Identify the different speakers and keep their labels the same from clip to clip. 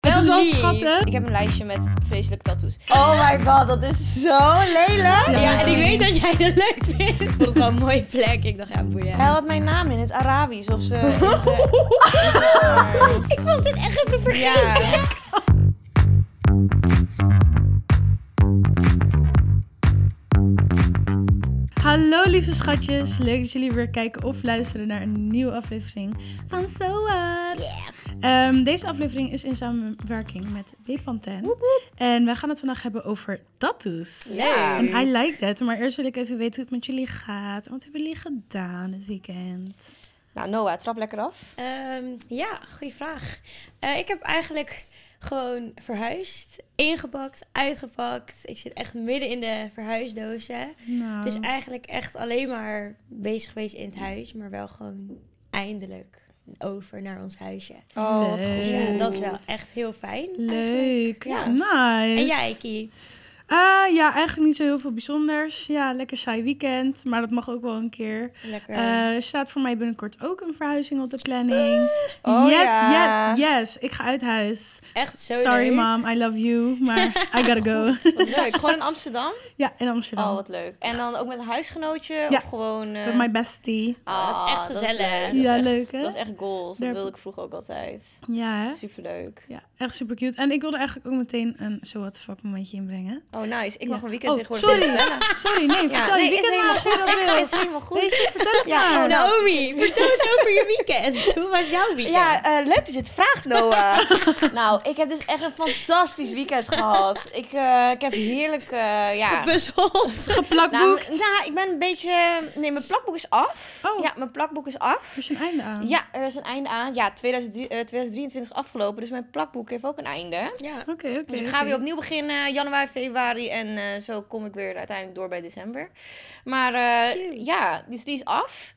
Speaker 1: dat wel
Speaker 2: lief.
Speaker 1: schattig.
Speaker 3: Ik heb een lijstje met vreselijke tattoos.
Speaker 2: Oh my god, dat is zo lelijk.
Speaker 3: Ja, en ik weet dat jij dat leuk vindt. Ik vond het wel een mooie plek. Ik dacht, ja, boeien.
Speaker 2: Hij had mijn naam in het Arabisch of zo.
Speaker 3: eh, Ik was dit echt even vergeten.
Speaker 1: Hallo lieve schatjes, leuk dat jullie weer kijken of luisteren naar een nieuwe aflevering van So What. Ehm, deze aflevering is in samenwerking met Bepanthen. En wij gaan het vandaag hebben over tattoos.
Speaker 3: Ja.
Speaker 1: En I like that, maar eerst wil ik even weten hoe het met jullie gaat. Wat hebben jullie gedaan dit weekend?
Speaker 3: Nou, Noah, trap lekker af.
Speaker 4: Ehm, ja, goede vraag. Eh, ik heb eigenlijk gewoon verhuisd, ingepakt, uitgepakt. Ik zit echt midden in de verhuisdozen.
Speaker 1: Nou,
Speaker 4: Dus eigenlijk echt alleen maar bezig geweest in het huis, maar wel gewoon eindelijk over naar ons huisje.
Speaker 3: Oh, wat
Speaker 1: Leuk.
Speaker 3: goed.
Speaker 4: Dus ja, dat is wel echt heel fijn.
Speaker 1: leuk.
Speaker 4: eigenlijk. Ja.
Speaker 1: Nice.
Speaker 4: En jij, Kie?
Speaker 1: Ah, ja, eigenlijk niet zo heel veel bijzonders. Ja, lekker saai weekend, maar dat mag ook wel een keer.
Speaker 4: Lekker.
Speaker 1: Eh, er staat voor mij binnenkort ook een verhuizing op de planning.
Speaker 3: oh
Speaker 1: yes,
Speaker 3: ja.
Speaker 1: yes, yes. Ik ga uit huis.
Speaker 4: echt zo
Speaker 1: Sorry
Speaker 4: leuk.
Speaker 1: mom, I love you. Maar I gotta go.
Speaker 3: Wat leuk. Gewoon in Amsterdam?
Speaker 1: Ja, in Amsterdam.
Speaker 3: Oh, wat leuk. En dan ook met een huisgenootje?
Speaker 1: Ja.
Speaker 3: Of gewoon... eh,
Speaker 1: Met mijn bestie.
Speaker 3: ah,
Speaker 4: dat is echt
Speaker 3: dat
Speaker 4: gezellig.
Speaker 3: leuk. Dat is
Speaker 1: Ja,
Speaker 3: echt-
Speaker 1: leuk hè?
Speaker 3: Dat is echt goals. Dat
Speaker 1: Daar-
Speaker 3: wilde ik vroeger ook altijd.
Speaker 1: Ja, hè?
Speaker 3: Superleuk.
Speaker 1: Ja, echt super cute. En ik wilde eigenlijk ook meteen een so what the fuck momentje inbrengen.
Speaker 3: Oh, nice. Ik
Speaker 1: Ja.
Speaker 3: mag een weekend
Speaker 1: Oh,
Speaker 3: tegenwoordig
Speaker 1: sorry.
Speaker 3: niet vertellen.
Speaker 1: Sorry, nee,
Speaker 3: Ja,
Speaker 1: vertel
Speaker 3: nee,
Speaker 1: je
Speaker 3: is
Speaker 1: weekend
Speaker 3: helemaal
Speaker 1: maar als je dat
Speaker 3: Het is
Speaker 1: wil.
Speaker 3: helemaal goed.
Speaker 1: Weet je, vertel het
Speaker 3: Ja,
Speaker 1: maar.
Speaker 3: oh, nou,
Speaker 4: Naomi, vertel eens over je weekend. Hoe was jouw weekend?
Speaker 3: Ja, eh, leuk dat je het vraagt, Noah. nou, ik heb dus echt een fantastisch weekend gehad. Ik, eh, ik heb heerlijk, eh, ja...
Speaker 4: Gepuzzeld.
Speaker 1: Geplakt
Speaker 3: Nou,
Speaker 1: boek.
Speaker 3: m- nou, ik ben een beetje... Nee, mijn plakboek is af.
Speaker 1: Oh.
Speaker 3: Ja, mijn plakboek is af.
Speaker 1: Er is een einde aan.
Speaker 3: Ja, er is een einde aan. Ja, 2003, eh, 2023 afgelopen, dus mijn plakboek heeft ook een einde.
Speaker 4: Ja,
Speaker 1: Oké, oké.
Speaker 3: Dus ik
Speaker 1: oké.
Speaker 3: ga weer opnieuw beginnen, januari, februari en eh, zo kom ik weer uiteindelijk door bij december. Maar eh,
Speaker 4: Cute.
Speaker 3: ja, dus die is af.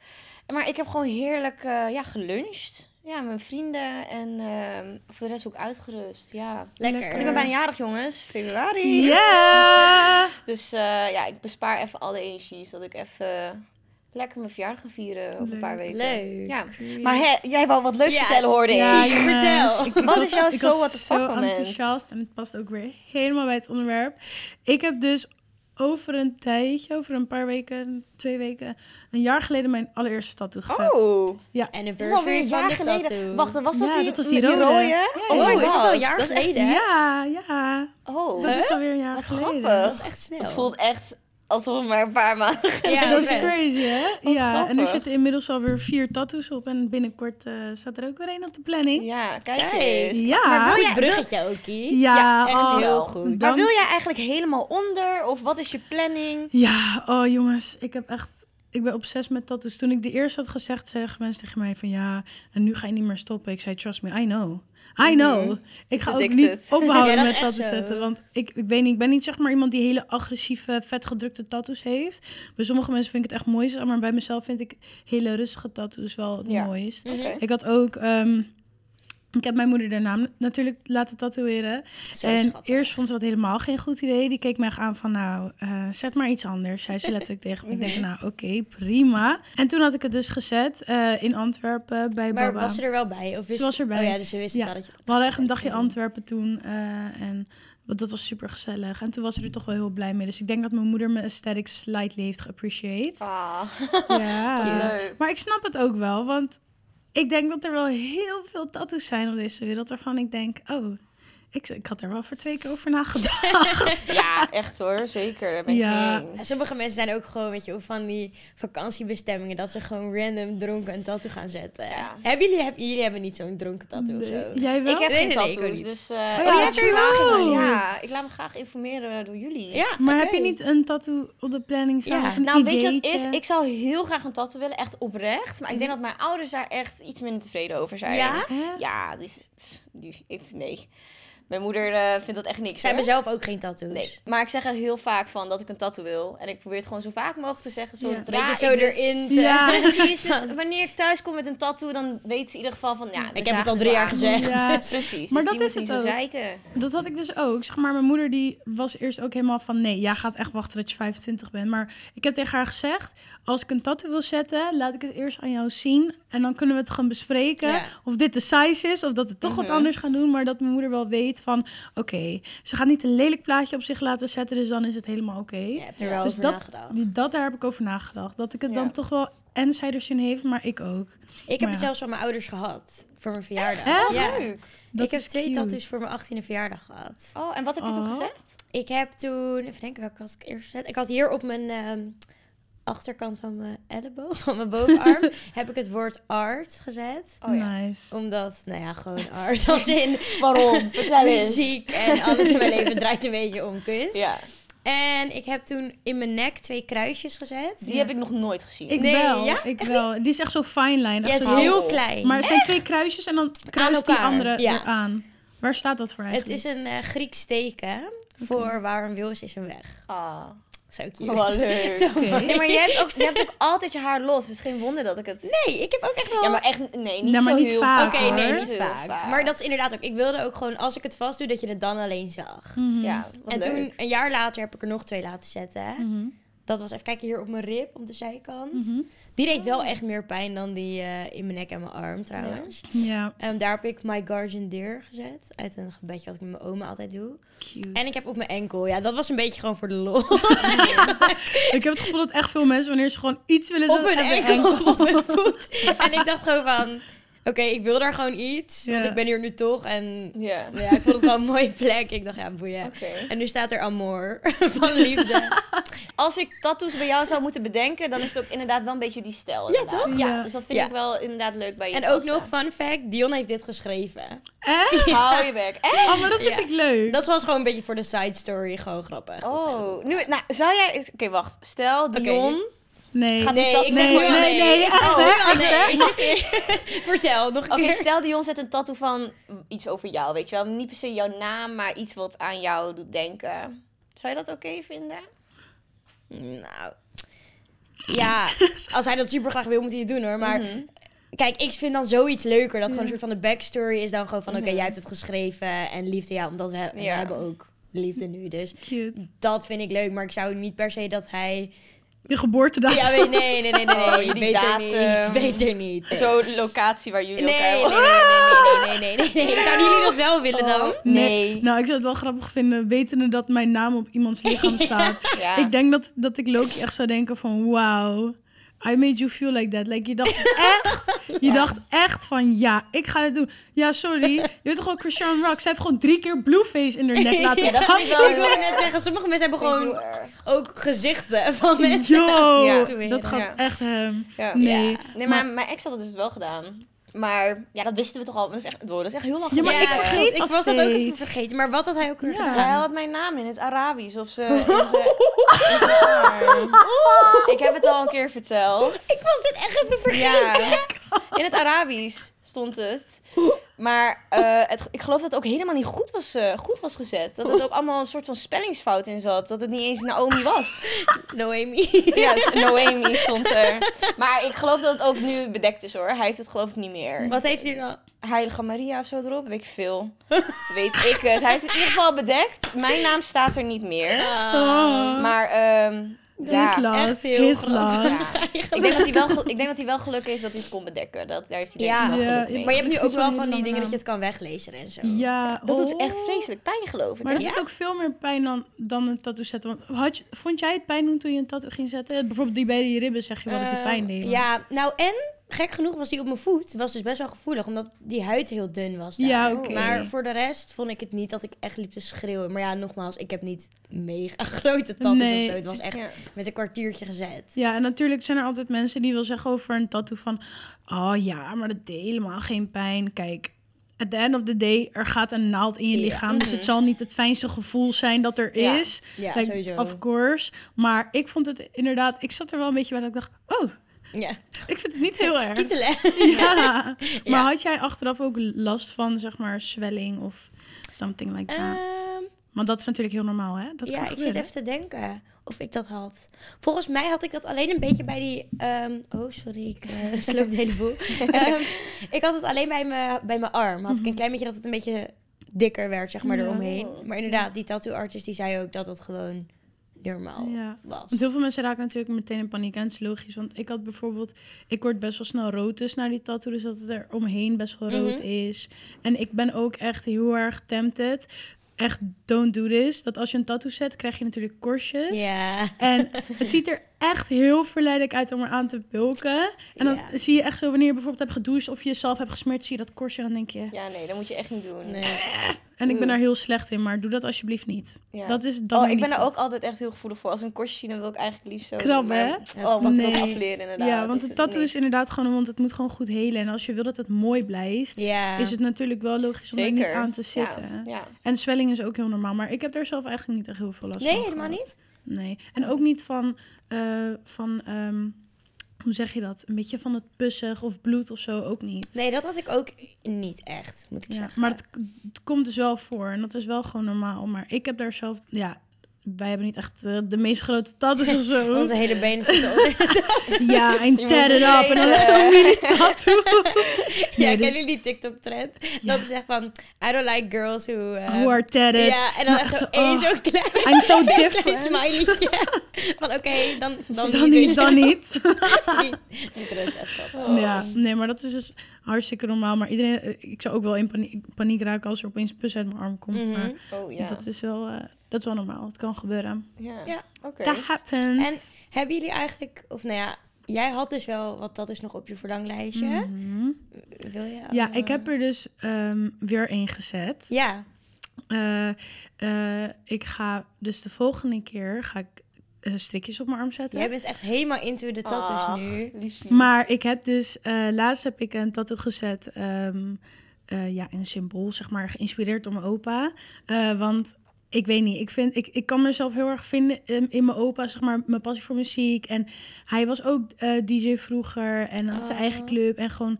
Speaker 3: Maar ik heb gewoon heerlijk eh, ja, geluncht. Ja, met mijn vrienden en eh, voor de rest ook uitgerust. Ja. Want
Speaker 4: lekker.
Speaker 3: ik ben bijna jarig, jongens. Februari.
Speaker 1: Yeah!
Speaker 3: Dus eh, ja, ik bespaar even alle energie, zodat ik even lekker mijn verjaardag ga vieren over een paar
Speaker 1: Leuk.
Speaker 3: weken.
Speaker 4: Leuk.
Speaker 3: Ja. Maar hè, jij wou wat leuks
Speaker 4: Ja.
Speaker 3: vertellen, hoorde ik.
Speaker 1: Ja,
Speaker 4: Hey,
Speaker 1: jongens,
Speaker 4: vertel.
Speaker 1: ik- ik
Speaker 3: Wat
Speaker 1: was-
Speaker 3: is jouw
Speaker 1: ik
Speaker 3: zo
Speaker 1: was
Speaker 3: what the fuck
Speaker 1: zo
Speaker 3: moment?
Speaker 1: enthousiast en het past ook weer helemaal bij het onderwerp. Ik heb dus over een tijdje, over een paar weken, twee weken, een jaar geleden mijn allereerste tattoo gezet.
Speaker 3: Oh.
Speaker 4: Anniversary
Speaker 3: Het is alweer een
Speaker 4: van
Speaker 3: jaar
Speaker 4: de
Speaker 3: geleden.
Speaker 4: tattoo.
Speaker 3: Wacht, was dat
Speaker 1: Ja,
Speaker 3: die,
Speaker 1: dat was
Speaker 3: met
Speaker 1: die rode. Ja,
Speaker 3: Oh,
Speaker 1: ja.
Speaker 3: my
Speaker 4: Oh, is dat al
Speaker 3: god.
Speaker 4: een jaar
Speaker 3: Dat is echt-
Speaker 4: geleden?
Speaker 1: Ja, ja.
Speaker 3: Oh,
Speaker 1: Dat is alweer een jaar
Speaker 3: Wat
Speaker 1: geleden.
Speaker 3: grappig.
Speaker 4: Dat is echt snel.
Speaker 3: het voelt echt alsof het maar een paar maanden
Speaker 4: ja, Oh
Speaker 1: dat is
Speaker 4: oprecht.
Speaker 1: crazy, hè? ja, en er
Speaker 3: grappig.
Speaker 1: zitten inmiddels alweer vier tattoos op. En binnenkort eh, staat er ook weer een op de planning.
Speaker 3: Ja, kijk
Speaker 4: Kijk.
Speaker 3: eens.
Speaker 1: Ja,
Speaker 4: Goed
Speaker 3: wil jij-
Speaker 4: bruggetje ook, Kie.
Speaker 1: ja,
Speaker 3: ja, echt
Speaker 1: oh,
Speaker 4: heel
Speaker 3: wel.
Speaker 4: goed.
Speaker 3: Maar
Speaker 1: dan-
Speaker 3: wil jij eigenlijk helemaal onder? Of wat is je planning?
Speaker 1: Ja, oh jongens, ik heb echt. Ik ben obsessief met tattoos. Toen ik de eerste had gezegd, zeggen mensen tegen mij van ja, en nu ga je niet meer stoppen. Ik zei, trust me, I know. I know. Ik ga ook
Speaker 3: addicted.
Speaker 1: niet ophouden
Speaker 4: Mhm. Ja, dat
Speaker 1: met
Speaker 4: is echt
Speaker 1: tattoos
Speaker 4: zo.
Speaker 1: zetten. Want ik, ik weet niet, ik ben niet zeg maar iemand die hele agressieve, vetgedrukte tattoos heeft. Bij sommige mensen vind ik het echt mooi, zeg maar bij mezelf vind ik hele rustige tattoos wel het
Speaker 3: Ja.
Speaker 1: mooist.
Speaker 3: Oké.
Speaker 1: Ik had ook, ehm, ik heb mijn moeder de naam natuurlijk laten tatoeëren
Speaker 4: Zo
Speaker 1: en
Speaker 4: schattig.
Speaker 1: eerst vond ze dat helemaal geen goed idee. Die keek mij echt aan van, nou, eh, zet maar iets anders. Zei ze letterlijk tegen me. Ik denk, nou, oké, prima. En toen had ik het dus gezet eh, in Antwerpen bij
Speaker 4: Maar
Speaker 1: Baba.
Speaker 4: was ze er wel bij? Of wist...
Speaker 1: was erbij.
Speaker 4: Oh ja, dus ze wist
Speaker 1: Ja.
Speaker 4: het al dat je...
Speaker 1: We hadden echt een dagje Antwerpen toen. eh, en want dat was super gezellig. En toen was ze er toch wel heel blij mee. Dus ik denk dat mijn moeder mijn aesthetics slightly heeft geappreciate.
Speaker 3: Ah,
Speaker 4: Oh,
Speaker 1: Ja.
Speaker 3: leuk.
Speaker 1: Maar ik snap het ook wel, want ik denk dat er wel heel veel tattoos zijn op deze wereld. Waarvan ik denk, oh, ik, ik had er wel voor twee keer over nagedacht.
Speaker 3: Ja, echt hoor. Zeker. Daar ben ik
Speaker 1: Ja.
Speaker 3: mee
Speaker 4: En
Speaker 3: eens.
Speaker 4: Sommige mensen zijn ook gewoon, weet je, van die vakantiebestemmingen... dat ze gewoon random dronken een tattoo gaan zetten.
Speaker 3: Ja.
Speaker 4: Hebben jullie, heb, jullie hebben niet zo'n dronken tattoo of zo?
Speaker 1: Nee. Jij wel?
Speaker 3: Ik heb
Speaker 4: Nee,
Speaker 3: geen
Speaker 4: nee, nee, ik
Speaker 3: tattoos,
Speaker 4: ook niet.
Speaker 3: dus... eh,
Speaker 1: Oh, ja,
Speaker 3: ik-
Speaker 1: je hebt er wel.
Speaker 3: Ja, ik laat me graag informeren door jullie.
Speaker 4: Ja,
Speaker 1: Maar
Speaker 4: oké.
Speaker 1: heb je niet een tattoo op de planning staan?
Speaker 4: Ja.
Speaker 1: of een
Speaker 3: Nou, weet je wat het
Speaker 1: ideetje?
Speaker 3: is? Ik zou heel graag een tattoo willen, echt oprecht. Maar ik denk dat mijn ouders daar echt iets minder tevreden over zijn.
Speaker 4: Ja?
Speaker 1: Hè?
Speaker 3: Mhm. Ja, dus... pff, Die, ik, nee. Mijn moeder eh, vindt dat echt niks,
Speaker 4: Ze
Speaker 3: hoor.
Speaker 4: hebben zelf ook geen tattoos.
Speaker 3: Nee, maar ik zeg er heel vaak van dat ik een tattoo wil. En ik probeer het gewoon zo vaak mogelijk te zeggen.
Speaker 1: Ja.
Speaker 3: Zodra
Speaker 4: Beetje zo
Speaker 3: ik dus-
Speaker 4: erin te...
Speaker 1: Ja.
Speaker 3: Precies, dus wanneer ik thuis kom met een tattoo, dan weten ze in ieder geval van... Ja,
Speaker 4: Ik heb het al drie jaar gezegd.
Speaker 1: Ja.
Speaker 3: Precies,
Speaker 1: Maar
Speaker 3: dus
Speaker 1: dat
Speaker 3: die
Speaker 1: is
Speaker 3: moet
Speaker 1: het
Speaker 3: niet zo zeiken.
Speaker 1: Dat had ik dus ook. Zeg maar, mijn moeder die was eerst ook helemaal van... nee, jij gaat echt wachten tot je 25 bent. Maar ik heb tegen haar gezegd... als ik een tattoo wil zetten, laat ik het eerst aan jou zien. En dan kunnen we het gaan bespreken.
Speaker 4: Ja.
Speaker 1: Of dit de size is, of dat het toch
Speaker 3: Mhm.
Speaker 1: wat anders gaan doen. Maar dat mijn moeder wel weet van... Oké, ze gaat niet een lelijk plaatje op zich laten zetten. Dus dan is het helemaal oké.
Speaker 4: Je hebt er wel
Speaker 1: Dus
Speaker 4: over
Speaker 1: dat,
Speaker 4: nagedacht.
Speaker 1: die- dat daar heb ik over nagedacht. Dat ik het
Speaker 3: Ja.
Speaker 1: dan toch wel... En zij er zin in heeft, maar ik ook.
Speaker 4: Ik
Speaker 1: Maar
Speaker 4: heb het
Speaker 1: ja.
Speaker 4: zelfs van mijn ouders gehad. Voor mijn verjaardag.
Speaker 1: Echt? Oh,
Speaker 4: Ja.
Speaker 1: Dat
Speaker 4: ik heb
Speaker 1: is
Speaker 4: twee
Speaker 1: cute.
Speaker 4: tattoos voor mijn 18e verjaardag gehad.
Speaker 3: Oh, en wat heb je toen
Speaker 1: Oh.
Speaker 3: gezegd?
Speaker 4: Ik heb toen, even denken welke was ik eerst gezet. Ik had hier op mijn ehm, achterkant van mijn elleboog, van mijn bovenarm, heb ik het woord art gezet.
Speaker 3: Oh ja.
Speaker 1: Nice.
Speaker 4: Omdat, nou ja, gewoon art als in
Speaker 2: Waarom? Vertel eens.
Speaker 4: muziek en alles in mijn leven draait een beetje om kunst.
Speaker 3: Ja.
Speaker 4: En ik heb toen in mijn nek twee kruisjes gezet.
Speaker 3: Die heb ik nog nooit gezien.
Speaker 1: Ik
Speaker 4: Nee,
Speaker 1: wel.
Speaker 4: ja?
Speaker 1: Ik wel. Die is echt zo fine line.
Speaker 4: Ja,
Speaker 1: echt
Speaker 4: het is
Speaker 1: zo-
Speaker 4: heel
Speaker 3: Oh.
Speaker 4: klein.
Speaker 1: Maar het zijn twee kruisjes en dan kruist die
Speaker 4: elkaar,
Speaker 1: andere
Speaker 4: ja.
Speaker 1: weer aan. Waar staat dat voor
Speaker 4: het
Speaker 1: eigenlijk?
Speaker 4: is een eh, Grieks teken voor waar een wil is, is een weg.
Speaker 3: Ah,
Speaker 4: Zo cute.
Speaker 3: wat leuk.
Speaker 4: Zo
Speaker 1: Oké.
Speaker 4: mooi.
Speaker 3: Nee, maar jij hebt, ook, jij hebt ook altijd je haar los, dus geen wonder dat ik het...
Speaker 4: Nee, ik heb ook echt wel...
Speaker 3: Ja, maar echt, nee, niet
Speaker 1: Nee, maar
Speaker 3: zo
Speaker 1: niet
Speaker 3: heel
Speaker 1: vaak,
Speaker 4: Oké,
Speaker 1: Vaak,
Speaker 4: nee,
Speaker 1: hoor.
Speaker 4: niet
Speaker 3: Heel
Speaker 4: vaak. Maar dat is inderdaad ook. Ik wilde ook gewoon, als ik het vast doe, dat je het dan alleen zag.
Speaker 1: Mhm.
Speaker 3: Ja, wat
Speaker 4: en
Speaker 3: leuk.
Speaker 4: toen, een jaar later, heb ik er nog twee laten zetten.
Speaker 1: Mhm.
Speaker 4: Dat was even kijken hier op mijn rib, op de zijkant.
Speaker 1: Mhm.
Speaker 4: Die deed
Speaker 3: Oh.
Speaker 4: wel echt meer pijn dan die eh, in mijn nek en mijn arm trouwens.
Speaker 1: Ja,
Speaker 4: En daar heb ik My Guardian Deer gezet. Uit een gebedje wat ik met mijn oma altijd doe.
Speaker 1: cute.
Speaker 4: En ik heb op mijn enkel. Ja, dat was een beetje gewoon voor de lol. op
Speaker 1: Ik heb het gevoel dat echt veel mensen, wanneer ze gewoon iets willen zetten,
Speaker 4: mijn
Speaker 1: even
Speaker 4: enkel, op mijn voet. En ik dacht gewoon van... Oké, ik wil daar gewoon iets. Want
Speaker 1: Ja.
Speaker 4: ik ben hier nu toch. En
Speaker 3: Ja,
Speaker 4: ja, ik vond het wel een mooie plek. Ik dacht, ja, boeien.
Speaker 3: oké.
Speaker 4: En nu staat er Amor van liefde.
Speaker 3: Als ik tattoos bij jou zou moeten bedenken, dan is het ook inderdaad wel een beetje die stijl.
Speaker 4: Ja,
Speaker 3: inderdaad.
Speaker 1: toch?
Speaker 3: Ja,
Speaker 1: Ja.
Speaker 3: dus dat vind
Speaker 4: Ja.
Speaker 3: ik wel inderdaad leuk bij je.
Speaker 4: en ook
Speaker 3: passen.
Speaker 4: nog, fun fact, Dion heeft dit geschreven.
Speaker 1: Echt?
Speaker 3: Hou je werk. Echt?
Speaker 1: Oh, maar dat vind
Speaker 4: Ja.
Speaker 1: ik leuk.
Speaker 4: Dat was gewoon een beetje voor de side story, gewoon grappig. Dat hij dat
Speaker 3: Oh,
Speaker 4: doet.
Speaker 3: nu, nou, zou jij... Oké, wacht. Stel,
Speaker 4: Oké.
Speaker 3: Dion...
Speaker 1: Nee.
Speaker 3: Gaat-
Speaker 1: nee,
Speaker 4: Nee,
Speaker 3: dat-
Speaker 4: ik zeg
Speaker 1: nee,
Speaker 4: nu
Speaker 1: nee,
Speaker 4: al nee. Oh,
Speaker 1: echt hè? Echt hè?
Speaker 4: Vertel, nog een
Speaker 3: Oké,
Speaker 4: keer.
Speaker 3: stel Dion zet een tattoo van iets over jou, weet je wel. Niet per se jouw naam, maar iets wat aan jou doet denken. Zou je dat oké vinden?
Speaker 4: Nou, ja, als hij dat super graag wil, moet hij het doen hoor. Maar
Speaker 3: Mhm.
Speaker 4: kijk, ik vind dan zoiets leuker. Dat gewoon een soort van de backstory is dan gewoon van... Oké, jij hebt het geschreven en liefde. Ja, omdat we, we
Speaker 3: Mhm. Ja.
Speaker 4: hebben ook liefde nu. Dus
Speaker 1: Cute.
Speaker 4: dat vind ik leuk. Maar ik zou niet per se dat hij...
Speaker 1: Je geboortedag.
Speaker 4: Ja, weet, nee, nee, nee, nee,
Speaker 3: Oh,
Speaker 4: nee.
Speaker 3: jullie
Speaker 4: beter
Speaker 3: datum.
Speaker 4: niet. Beter niet. nee.
Speaker 3: Zo'n locatie waar jullie
Speaker 4: Nee, nee,
Speaker 3: elkaar...
Speaker 4: nee, nee, nee, nee, nee, nee, nee. Zouden jullie dat wel
Speaker 1: Oh.
Speaker 4: willen dan?
Speaker 3: Nee.
Speaker 1: Nou, ik zou het wel grappig vinden, wetende dat mijn naam op iemands lichaam staat.
Speaker 3: Ja.
Speaker 1: Ik denk dat, dat ik Loki echt zou denken van, wow, I made you feel like that. Like, je dacht echt, je dacht echt van, ja, ik ga dit doen. Ja, sorry. Je weet toch wel, Christian Rock, zij heeft gewoon drie keer Blueface in haar nek laten
Speaker 3: Ja, dat vind ik wel
Speaker 4: Ik
Speaker 3: heel
Speaker 4: wilde
Speaker 3: erg.
Speaker 4: net zeggen, sommige mensen hebben
Speaker 3: Vind ik
Speaker 4: gewoon
Speaker 3: heel erg.
Speaker 4: ook gezichten van mensen.
Speaker 1: Yo,
Speaker 3: Ja,
Speaker 1: dat gaat
Speaker 3: Ja.
Speaker 1: echt hem.
Speaker 3: Ja.
Speaker 1: Nee.
Speaker 4: Ja.
Speaker 3: Nee, maar mijn ex had het dus wel gedaan. Maar ja, dat wisten we toch al. maar Dat is echt, wow, dat is echt heel lang
Speaker 1: Ja, maar
Speaker 3: geleden.
Speaker 1: ik vergeet
Speaker 4: ik
Speaker 1: dat
Speaker 4: was dat ook even
Speaker 1: steeds.
Speaker 4: vergeten. Maar wat had hij ook weer
Speaker 1: Ja.
Speaker 4: gedaan?
Speaker 3: Hij had mijn naam in het Arabisch of zo. in zijn- in zijn arm. Ik heb het al een keer verteld.
Speaker 4: Ik was dit echt even vergeten.
Speaker 3: Ja. In het Arabisch stond het. Maar eh, het, ik geloof dat het ook helemaal niet goed was, eh, goed was gezet. Dat het ook allemaal een soort van spellingsfout in zat. Dat het niet eens Naomi was.
Speaker 4: Noemi.
Speaker 3: Ja, dus Noemi stond er. Maar ik geloof dat het ook nu bedekt is hoor. Hij heeft het geloof ik niet meer.
Speaker 4: Wat heeft hij dan?
Speaker 1: Oh.
Speaker 3: Heilige Maria of zo erop, weet ik veel. Weet ik het. Hij heeft het in ieder geval bedekt. Mijn naam staat er niet meer.
Speaker 4: Ah.
Speaker 1: Oh.
Speaker 3: Ah, Maar ehm
Speaker 1: his
Speaker 3: ja.
Speaker 1: loss,
Speaker 4: echt heel
Speaker 1: his
Speaker 4: grappig.
Speaker 1: loss.
Speaker 3: Ja. Ik, denk dat hij wel, gel- ik denk dat hij wel geluk heeft dat hij het kon bedekken. Dat, daar heeft hij denk ik
Speaker 4: Ja.
Speaker 3: wel
Speaker 1: Ja,
Speaker 3: geluk mee.
Speaker 1: ik-
Speaker 4: Maar je hebt nu
Speaker 1: Het
Speaker 4: ook
Speaker 1: is wel
Speaker 4: wel
Speaker 1: een
Speaker 4: van
Speaker 1: hele
Speaker 4: die dingen
Speaker 1: lange
Speaker 4: dat je het kan weglezen en zo.
Speaker 1: eh, Ja,
Speaker 3: Dat doet echt
Speaker 1: oh.
Speaker 3: vreselijk pijn, geloof ik.
Speaker 1: Maar dat
Speaker 4: Ja.
Speaker 1: doet ook veel meer pijn dan, dan een tattoo zetten. Want had je- vond jij het pijn doen toen je een tattoo ging zetten? Bijvoorbeeld die bij die ribben zeg je wel dat die
Speaker 4: Eh,
Speaker 1: pijn deed. maar-
Speaker 4: Ja, nou en gek genoeg was die op mijn voet. Was dus best wel gevoelig, omdat die huid heel dun was. Daar.
Speaker 1: Ja, oké.
Speaker 4: Maar voor de rest vond ik het niet dat ik echt liep te schreeuwen. Maar ja, nogmaals, ik heb niet mega grote tattoos
Speaker 1: Nee.
Speaker 4: of zo. Het was echt
Speaker 3: Ja.
Speaker 4: met een kwartiertje gezet.
Speaker 1: Ja, en natuurlijk zijn er altijd mensen die wil zeggen over een tattoo van... Oh ja, maar dat deed helemaal geen pijn. Kijk, at the end of the day, er gaat een naald in je
Speaker 4: Ja. Mhm.
Speaker 1: lichaam. Dus het zal niet het fijnste gevoel zijn dat er
Speaker 3: Ja.
Speaker 1: is.
Speaker 4: Ja,
Speaker 1: Like,
Speaker 4: sowieso.
Speaker 1: Of course. Maar ik vond het inderdaad... Ik zat er wel een beetje bij dat ik dacht... Oh,
Speaker 4: Ja,
Speaker 1: ik vind het niet heel erg.
Speaker 4: kietelen.
Speaker 1: ja. Maar
Speaker 4: Ja.
Speaker 1: had jij achteraf ook last van, zeg maar, zwelling of something like that?
Speaker 4: Ehm,
Speaker 1: Want dat is natuurlijk heel normaal, hè? Dat
Speaker 4: ja,
Speaker 1: kan
Speaker 4: ik zit
Speaker 1: gebeuren.
Speaker 4: even te denken of ik dat had. Volgens mij had ik dat alleen een beetje bij die... ehm, oh, sorry, ik eh sloop de hele boel. Ehm, ik had het alleen bij mijn, bij mijn arm. Had ik een klein beetje dat het een beetje dikker werd, zeg maar,
Speaker 1: Mhm. Ja.
Speaker 4: eromheen.
Speaker 3: Oh.
Speaker 4: Maar inderdaad, die tattoo artist die zei ook dat het gewoon normaal
Speaker 1: Ja.
Speaker 4: was.
Speaker 1: Want heel veel mensen raken natuurlijk meteen in paniek. En het is logisch. Want ik had bijvoorbeeld... Ik word best wel snel rood dus naar die tattoo. Dus dat het er omheen best wel rood
Speaker 4: Mhm.
Speaker 1: is. En ik ben ook echt heel erg tempted. Echt, don't do this. Dat als je een tattoo zet, krijg je natuurlijk korstjes.
Speaker 4: Ja.
Speaker 1: En het ziet er echt heel verleidelijk uit om eraan te bulken. En dan
Speaker 4: Ja.
Speaker 1: zie je echt zo, wanneer je bijvoorbeeld hebt gedoucht... of je jezelf hebt gesmeerd, zie je dat korstje. En dan denk je...
Speaker 3: Ja, nee, dat moet je echt niet doen.
Speaker 4: Nee.
Speaker 1: En ik ben
Speaker 3: Oeh.
Speaker 1: daar heel slecht in, maar doe dat alsjeblieft niet.
Speaker 3: Ja.
Speaker 1: Dat is dan
Speaker 3: oh,
Speaker 1: weer
Speaker 3: ik ben
Speaker 1: niet
Speaker 3: er ook
Speaker 1: goed.
Speaker 3: altijd echt heel gevoelig voor. Als een korstje zien, dan wil ik eigenlijk liefst zo...
Speaker 1: Krabben,
Speaker 3: maar-
Speaker 1: hè?
Speaker 4: dat
Speaker 3: Oh, wat wil
Speaker 1: klopt.
Speaker 3: ik
Speaker 1: Nee.
Speaker 3: afleren inderdaad.
Speaker 1: Ja, want
Speaker 3: is dus
Speaker 1: het tattoo
Speaker 3: niet.
Speaker 1: is inderdaad gewoon, want het moet gewoon goed helen. En als je wil dat het mooi blijft,
Speaker 4: Ja.
Speaker 1: is het natuurlijk wel logisch om er
Speaker 3: Zeker.
Speaker 1: niet aan te
Speaker 3: Ja,
Speaker 1: zitten.
Speaker 3: ja.
Speaker 1: En zwelling is ook heel normaal, maar ik heb daar zelf eigenlijk niet echt heel veel last
Speaker 4: Nee,
Speaker 1: van.
Speaker 4: helemaal
Speaker 1: gehad.
Speaker 4: niet.
Speaker 1: Nee, en ook niet van, eh, van ehm, hoe zeg je dat? Een beetje van het pussig of bloed of zo, ook niet.
Speaker 4: Nee, dat had ik ook niet echt, moet ik
Speaker 1: Ja,
Speaker 4: zeggen.
Speaker 1: maar het, het komt dus wel voor en dat is wel gewoon normaal. Maar ik heb daar zelf, ja, wij hebben niet echt eh, de meest grote tattoos of zo.
Speaker 4: Onze hele benen zitten onder.
Speaker 1: Ja,
Speaker 4: Dus
Speaker 1: en
Speaker 3: Simon
Speaker 1: tear it
Speaker 3: zegt,
Speaker 1: up. En dan
Speaker 3: "Nee,
Speaker 1: echt zo'n mini tattoo.
Speaker 4: ja,
Speaker 1: Nee,
Speaker 4: ken
Speaker 1: dus-
Speaker 4: je die TikTok-trend? Dat is echt van, I don't like girls who... eh,
Speaker 1: Who are tethered.
Speaker 4: Ja, en dan
Speaker 1: Maar
Speaker 4: echt
Speaker 1: echt
Speaker 4: zo
Speaker 1: zo,
Speaker 4: één
Speaker 1: oh,
Speaker 4: zo'n klein,
Speaker 1: I'm so
Speaker 4: klein
Speaker 1: different.
Speaker 4: smileytje. Van oké, dan, dan,
Speaker 1: Dan niet, dan niet.
Speaker 4: Die brood echt grappig.
Speaker 1: Ja, nee, maar dat is dus hartstikke normaal. Maar iedereen, eh, ik zou ook wel in paniek, paniek raken als er opeens een pus uit mijn arm komt.
Speaker 4: Mhm.
Speaker 1: Maar
Speaker 3: Oh, ja.
Speaker 1: dat is wel, eh, dat is wel normaal. Het kan gebeuren.
Speaker 3: Ja,
Speaker 4: Ja.
Speaker 3: oké.
Speaker 1: That happens.
Speaker 4: En hebben jullie eigenlijk, of nou ja, jij had dus wel wat dat is nog op je verlanglijstje.
Speaker 1: Mhm.
Speaker 4: Wil je?
Speaker 1: Ja,
Speaker 4: eh,
Speaker 1: ik heb er dus ehm, weer één gezet.
Speaker 4: Ja.
Speaker 1: Eh, eh, ik ga dus de volgende keer ga ik eh, strikjes op mijn arm zetten.
Speaker 4: Jij bent echt helemaal into de tattoos
Speaker 3: Ach,
Speaker 4: nu.
Speaker 3: liefie.
Speaker 1: Maar ik heb dus, eh, laatst heb ik een tattoo gezet, ehm, eh, ja, een symbool, zeg maar, geïnspireerd door mijn opa. Eh, want ik weet niet, ik, vind, ik, ik kan mezelf heel erg vinden in, in mijn opa, zeg maar, mijn passie voor muziek. En hij was ook eh, DJ vroeger en had zijn
Speaker 4: Oh.
Speaker 1: eigen club en gewoon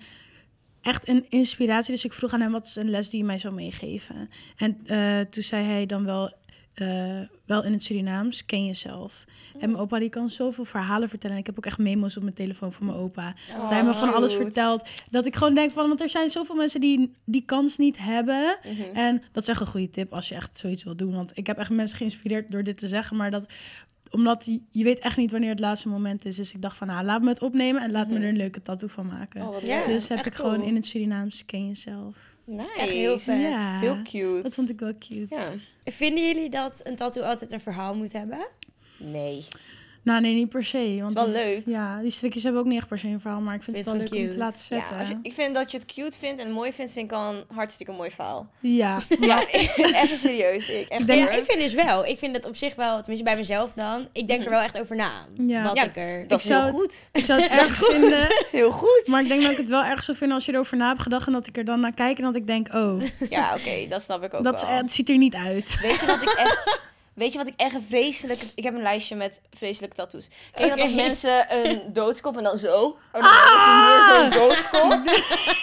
Speaker 1: echt een inspiratie. Dus ik vroeg aan hem, wat is een les die je mij zou meegeven? En eh, toen zei hij dan wel... eh, wel in het Surinaams, ken jezelf. En mijn opa die kan zoveel verhalen vertellen. Ik heb ook echt memo's op mijn telefoon van mijn opa. Dat hij
Speaker 3: Oh,
Speaker 1: me van alles
Speaker 3: cute.
Speaker 1: vertelt. Dat ik gewoon denk van, want er zijn zoveel mensen die die kans niet hebben.
Speaker 3: Mhm.
Speaker 1: En dat is echt een goede tip als je echt zoiets wil doen. Want ik heb echt mensen geïnspireerd door dit te zeggen. Maar dat, omdat je, je weet echt niet wanneer het laatste moment is. Dus ik dacht van, nou, laat me het opnemen en laat me er een leuke tattoo van maken.
Speaker 3: Mhm. Oh, wat
Speaker 4: Ja.
Speaker 3: leuk.
Speaker 1: dus heb
Speaker 4: echt
Speaker 1: ik gewoon
Speaker 4: cool.
Speaker 1: in het Surinaams ken jezelf.
Speaker 3: Nice.
Speaker 4: Echt heel vet.
Speaker 1: Dus Ja,
Speaker 3: Heel cute.
Speaker 1: dat vond ik wel cute.
Speaker 3: Ja.
Speaker 4: Vinden jullie dat een tattoo altijd een verhaal moet hebben?
Speaker 3: Nee. Het
Speaker 1: Nou, nee, niet per se. Want
Speaker 3: is wel leuk.
Speaker 1: Ja, die strikjes hebben ook niet echt per se een verhaal. Maar ik vind,
Speaker 4: Vind
Speaker 1: het wel
Speaker 4: het
Speaker 1: leuk
Speaker 4: gewoon
Speaker 1: om te
Speaker 4: cute.
Speaker 1: laten zetten.
Speaker 3: Ja, als je, ik vind dat je het cute vindt en mooi vindt, vind ik al een hartstikke mooi verhaal.
Speaker 1: ja.
Speaker 3: Ja, even serieus. Ik, echt
Speaker 4: ja,
Speaker 3: hoor.
Speaker 4: ik Mhm. vind dus wel. Ik vind het op zich wel, tenminste bij mezelf dan. Ik denk er wel echt over na.
Speaker 1: Ja.
Speaker 4: Wat
Speaker 3: Ja,
Speaker 4: ik er.
Speaker 3: dat is
Speaker 1: ik zou
Speaker 3: heel
Speaker 1: het-
Speaker 3: goed.
Speaker 1: Ik zou het erg vinden.
Speaker 3: Heel goed.
Speaker 1: Maar ik denk dat ik het wel erg zou vinden als je erover na hebt gedacht. En dat ik er dan naar kijk en dat ik denk, oh,
Speaker 3: Ja, oké, dat snap ik ook
Speaker 1: dat is,
Speaker 3: wel.
Speaker 1: het ziet er niet uit.
Speaker 3: Weet je wat ik echt... Weet je wat ik echt een vreselijke... Ik heb een lijstje met vreselijke tattoos. Kijk, dat als
Speaker 4: Oké.
Speaker 3: mensen een doodskop en dan zo... Oh, dan is er hier zo'n doodskop.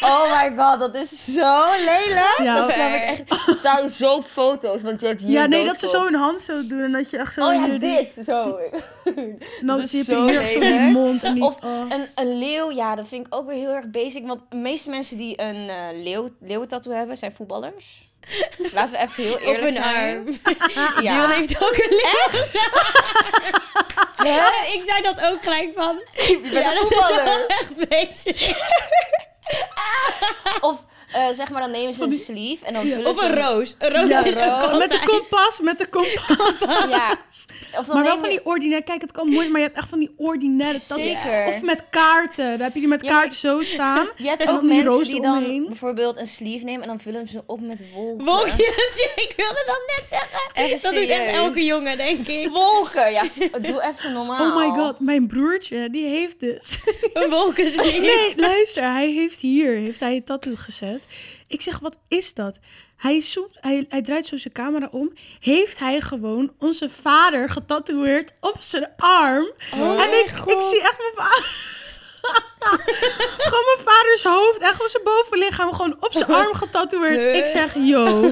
Speaker 3: Oh my god, dat is zo lelijk.
Speaker 1: Ja,
Speaker 3: dat
Speaker 1: oké.
Speaker 3: snap ik echt... Er staan zo op foto's, want je hebt hier
Speaker 1: Ja,
Speaker 3: een
Speaker 1: nee, dat ze
Speaker 3: doodskop.
Speaker 1: zo hun hand zo doen en dat je echt zo...
Speaker 3: Oh ja,
Speaker 1: hier die-
Speaker 3: dit. Zo.
Speaker 1: en dan
Speaker 3: dat is
Speaker 1: zie je
Speaker 3: zo
Speaker 1: hier echt zo die
Speaker 3: lelijk.
Speaker 1: mond en die...
Speaker 3: Of
Speaker 1: oh.
Speaker 3: Een, een leeuw, ja, dat vind ik ook weer heel erg basic. Want de meeste mensen die een eh leeuw, leeuwentattoo hebben, zijn voetballers. Laten we even heel
Speaker 4: Op
Speaker 3: eerlijk
Speaker 4: hun
Speaker 3: zijn.
Speaker 4: arm.
Speaker 3: Ja.
Speaker 4: Dion heeft ook een licht. Ja, ik zei dat ook gelijk van.
Speaker 3: Je bent een voetballer.
Speaker 4: echt bezig.
Speaker 3: Of eh, zeg maar, dan nemen ze een sleeve en dan vullen
Speaker 4: Of
Speaker 3: ze...
Speaker 4: een roos. Een roos
Speaker 1: Ja,
Speaker 4: is ook
Speaker 3: roos.
Speaker 4: altijd-
Speaker 1: met de kompas, met de kompas.
Speaker 3: Ah, Ja. Of dan
Speaker 1: Maar wel
Speaker 3: nemen-
Speaker 1: van die ordinaire... Kijk, het kan mooi, maar je hebt echt van die ordinaire... dat-
Speaker 3: Zeker.
Speaker 1: Of met kaarten. Daar heb je die met
Speaker 3: Ja, maar-
Speaker 1: kaart zo staan.
Speaker 3: Je hebt
Speaker 1: en dan
Speaker 3: ook
Speaker 1: die
Speaker 3: mensen
Speaker 1: roos
Speaker 3: die dan
Speaker 1: eromheen.
Speaker 3: bijvoorbeeld een sleeve nemen en dan vullen ze op met wolken.
Speaker 4: Wolkjes, ik wilde dat net zeggen.
Speaker 3: Even
Speaker 4: dat doet echt
Speaker 3: serieus.
Speaker 4: elke jongen, denk ik.
Speaker 3: Wolken, ja. Doe even normaal.
Speaker 1: Oh my god, mijn broertje, die heeft dus...
Speaker 4: Een wolkensleep.
Speaker 1: Nee,
Speaker 3: dus-
Speaker 1: luister, hij heeft hier heeft hij een tattoo gezet. Ik zeg, wat is dat? Hij, zoomt, hij, hij draait zo zijn camera om. Heeft hij gewoon onze vader getatoeëerd op zijn arm?
Speaker 4: Oh
Speaker 1: en
Speaker 4: mijn
Speaker 1: ik, ik
Speaker 4: God.
Speaker 1: zie echt mijn vader. gewoon mijn vaders hoofd en gewoon zijn bovenlichaam gewoon op zijn arm getatoeëerd. Ik zeg, yo.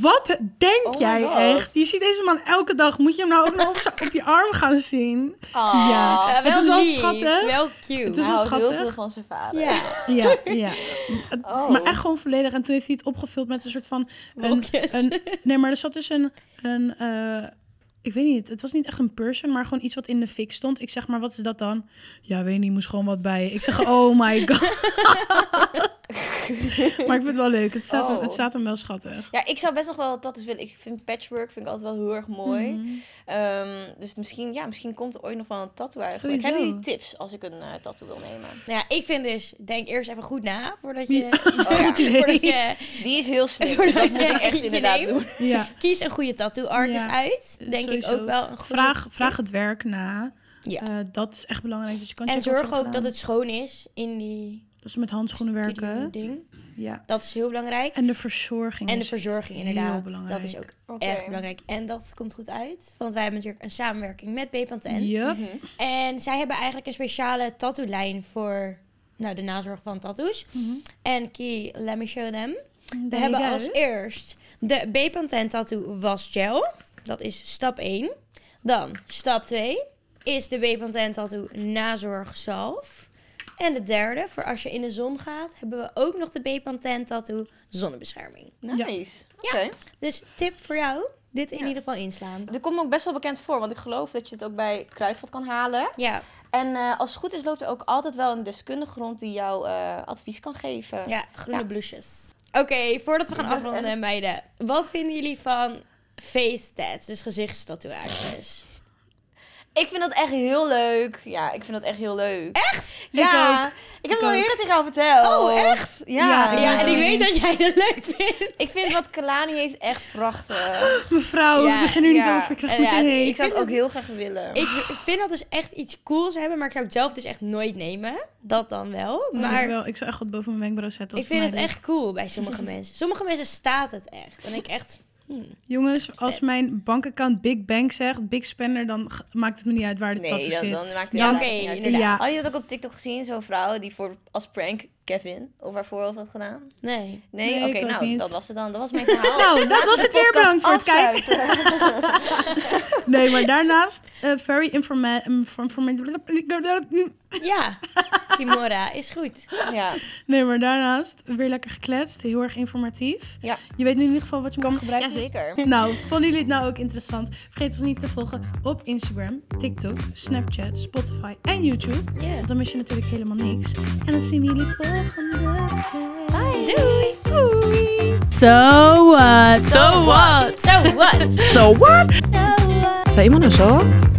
Speaker 1: Wat denk
Speaker 3: Oh my
Speaker 1: jij
Speaker 3: God.
Speaker 1: echt? Je ziet deze man elke dag. Moet je hem nou ook nog op, zijn- op je arm gaan zien?
Speaker 3: Ah.
Speaker 1: Oh. Ja.
Speaker 4: Ja, wel
Speaker 1: Het is wel
Speaker 4: lief,
Speaker 1: schattig.
Speaker 4: Wel cute.
Speaker 1: Het is
Speaker 3: Hij
Speaker 1: wel
Speaker 3: houdt nou heel
Speaker 1: schattig.
Speaker 3: veel van zijn vader.
Speaker 4: ja.
Speaker 1: Ja, ja.
Speaker 3: Oh.
Speaker 1: Maar echt gewoon volledig. En toen heeft hij het opgevuld met een soort van... Een,
Speaker 4: Wolkjes.
Speaker 1: een, nee, maar er zat dus een... een eh, ik weet niet, het was niet echt een person, maar gewoon iets wat in de fik stond. Ik zeg maar, wat is dat dan? Ja, weet niet, moest gewoon wat bij. Ik zeg, oh my god. maar ik vind het wel leuk. Het staat,
Speaker 3: Oh.
Speaker 1: het staat hem wel schattig.
Speaker 3: Ja, ik zou best nog wel wat tattoos willen. Ik vind patchwork vind ik altijd wel heel erg mooi.
Speaker 1: Mhm.
Speaker 3: Ehm, dus misschien, ja, misschien komt er ooit nog wel een tattoo eigenlijk.
Speaker 1: Sowieso.
Speaker 3: Hebben jullie tips als ik een eh, tattoo wil nemen?
Speaker 4: Nou ja, ik vind dus, denk eerst even goed na voordat je,
Speaker 3: Oh ja,
Speaker 4: voordat je
Speaker 3: die is heel slim.
Speaker 4: Voordat
Speaker 3: Dat moet
Speaker 4: je
Speaker 3: ik echt
Speaker 4: eentje
Speaker 3: inderdaad
Speaker 4: neemt.
Speaker 3: doen.
Speaker 1: Ja,
Speaker 4: kies een goede tattoo artist
Speaker 1: Ja, eh,
Speaker 4: uit. Denk
Speaker 1: sowieso.
Speaker 4: ik ook wel een goede
Speaker 1: vraag, vraag het werk na.
Speaker 4: Ja.
Speaker 1: Eh, dat is echt belangrijk. Dat je kan
Speaker 4: En
Speaker 1: checken wat
Speaker 4: zorg
Speaker 1: ze hebben
Speaker 4: ook dat
Speaker 1: gedaan.
Speaker 4: het schoon is in die
Speaker 1: Dat ze met handschoenen werken.
Speaker 4: ding.
Speaker 1: Ja.
Speaker 4: Dat is heel belangrijk.
Speaker 1: En de verzorging.
Speaker 4: En de
Speaker 1: is-
Speaker 4: verzorging
Speaker 1: heel
Speaker 4: inderdaad.
Speaker 1: belangrijk.
Speaker 4: Dat is ook
Speaker 3: Oké.
Speaker 4: erg belangrijk. En dat komt goed uit. Want wij hebben natuurlijk een samenwerking met Bepanthen.
Speaker 1: Yup.
Speaker 3: Mhm.
Speaker 4: En zij hebben eigenlijk een speciale tattoo-lijn voor nou, de nazorg van tattoos.
Speaker 1: Mhm.
Speaker 4: En Key, let me show them. We
Speaker 1: There
Speaker 4: hebben
Speaker 1: you go.
Speaker 4: als eerst de Bepanthen tattoo wasgel. Dat is stap 1. Dan stap 2 is de Bepanthen tattoo nazorgzalf. En de derde, voor als je in de zon gaat, hebben we ook nog de Bepanthen tattoo zonnebescherming.
Speaker 3: Nice. Oké.
Speaker 4: Dus tip voor jou, dit in
Speaker 3: Ja.
Speaker 4: ieder geval inslaan.
Speaker 3: Dit komt me ook best wel bekend voor, want ik geloof dat je het ook bij Kruidvat kan halen.
Speaker 4: Ja,
Speaker 3: En eh, als het goed is, loopt er ook altijd wel een deskundige rond die jou eh, advies kan geven.
Speaker 4: ja groene
Speaker 3: Ja.
Speaker 4: blouses. Oké, voordat we gaan afronden, eh, meiden. Wat vinden jullie van face tats, dus gezichtstatoeages?
Speaker 3: Ik vind dat echt heel leuk. Ja, ik vind dat echt heel leuk. Echt? Ja. Ik, heb
Speaker 1: Ik
Speaker 3: het al
Speaker 1: ook.
Speaker 3: eerder tegen jou verteld.
Speaker 4: Oh,
Speaker 3: echt? Ja.
Speaker 1: Ja,
Speaker 4: Ja, en ik weet dat jij dat leuk vindt.
Speaker 3: Ik vind wat Kalani heeft echt prachtig.
Speaker 1: Mevrouw,
Speaker 4: Ja,
Speaker 1: we beginnen nu
Speaker 3: ja.
Speaker 1: niet over. Ik krijg
Speaker 4: En ja,
Speaker 1: meteen een
Speaker 3: ik
Speaker 1: heet.
Speaker 3: zou het ook heel graag willen.
Speaker 4: Ik vind dat dus echt iets cools hebben, maar ik zou het zelf dus echt nooit nemen. Dat dan wel. Maar
Speaker 1: ik, Oh, wel, ik zou echt wat boven mijn wenkbrauw zetten.
Speaker 4: ik
Speaker 1: als
Speaker 4: vind
Speaker 1: mij
Speaker 4: het
Speaker 1: ligt.
Speaker 4: echt cool bij sommige mensen. Sommige mensen staat het echt. En ik echt... hmm.
Speaker 1: Jongens, als
Speaker 4: vet.
Speaker 1: mijn bankaccount Big Bang zegt, Big Spender, dan g- maakt het me niet uit waar de tattoo
Speaker 3: nee, dan,
Speaker 1: zit.
Speaker 3: dan maakt het
Speaker 4: Ja,
Speaker 3: inderdaad
Speaker 4: oké,
Speaker 3: niet uit.
Speaker 4: inderdaad.
Speaker 1: Ja.
Speaker 3: Had je dat ook op TikTok gezien? Zo'n vrouw die voor, als prank Kevin of haar voorhoofd had gedaan?
Speaker 4: Nee.
Speaker 3: Nee?
Speaker 1: Nee,
Speaker 3: Oké,
Speaker 1: ik ook
Speaker 3: nou,
Speaker 1: niet.
Speaker 3: dat was het dan. Dat was mijn verhaal.
Speaker 1: Nou, dat was het weer. Bedankt voor het kijken. Nee, maar daarnaast, eh, very informa- infor- informa-
Speaker 4: Ja, Kimora is goed.
Speaker 3: Ja,
Speaker 1: Nee, maar daarnaast, weer lekker gekletst. Heel erg informatief.
Speaker 3: Ja.
Speaker 1: Je weet nu in ieder geval wat je kan gebruiken.
Speaker 3: zeker.
Speaker 1: Nou, vonden jullie het nou ook interessant? Vergeet ons niet te volgen op Instagram, TikTok, Snapchat, Spotify en YouTube.
Speaker 4: Ja.
Speaker 1: Want Dan mis je natuurlijk helemaal niks. En dan zien we jullie volgende keer. Bye.
Speaker 4: Doei!
Speaker 1: Doei.
Speaker 5: So what?
Speaker 4: So what?
Speaker 5: So what? Seguimos nosotros.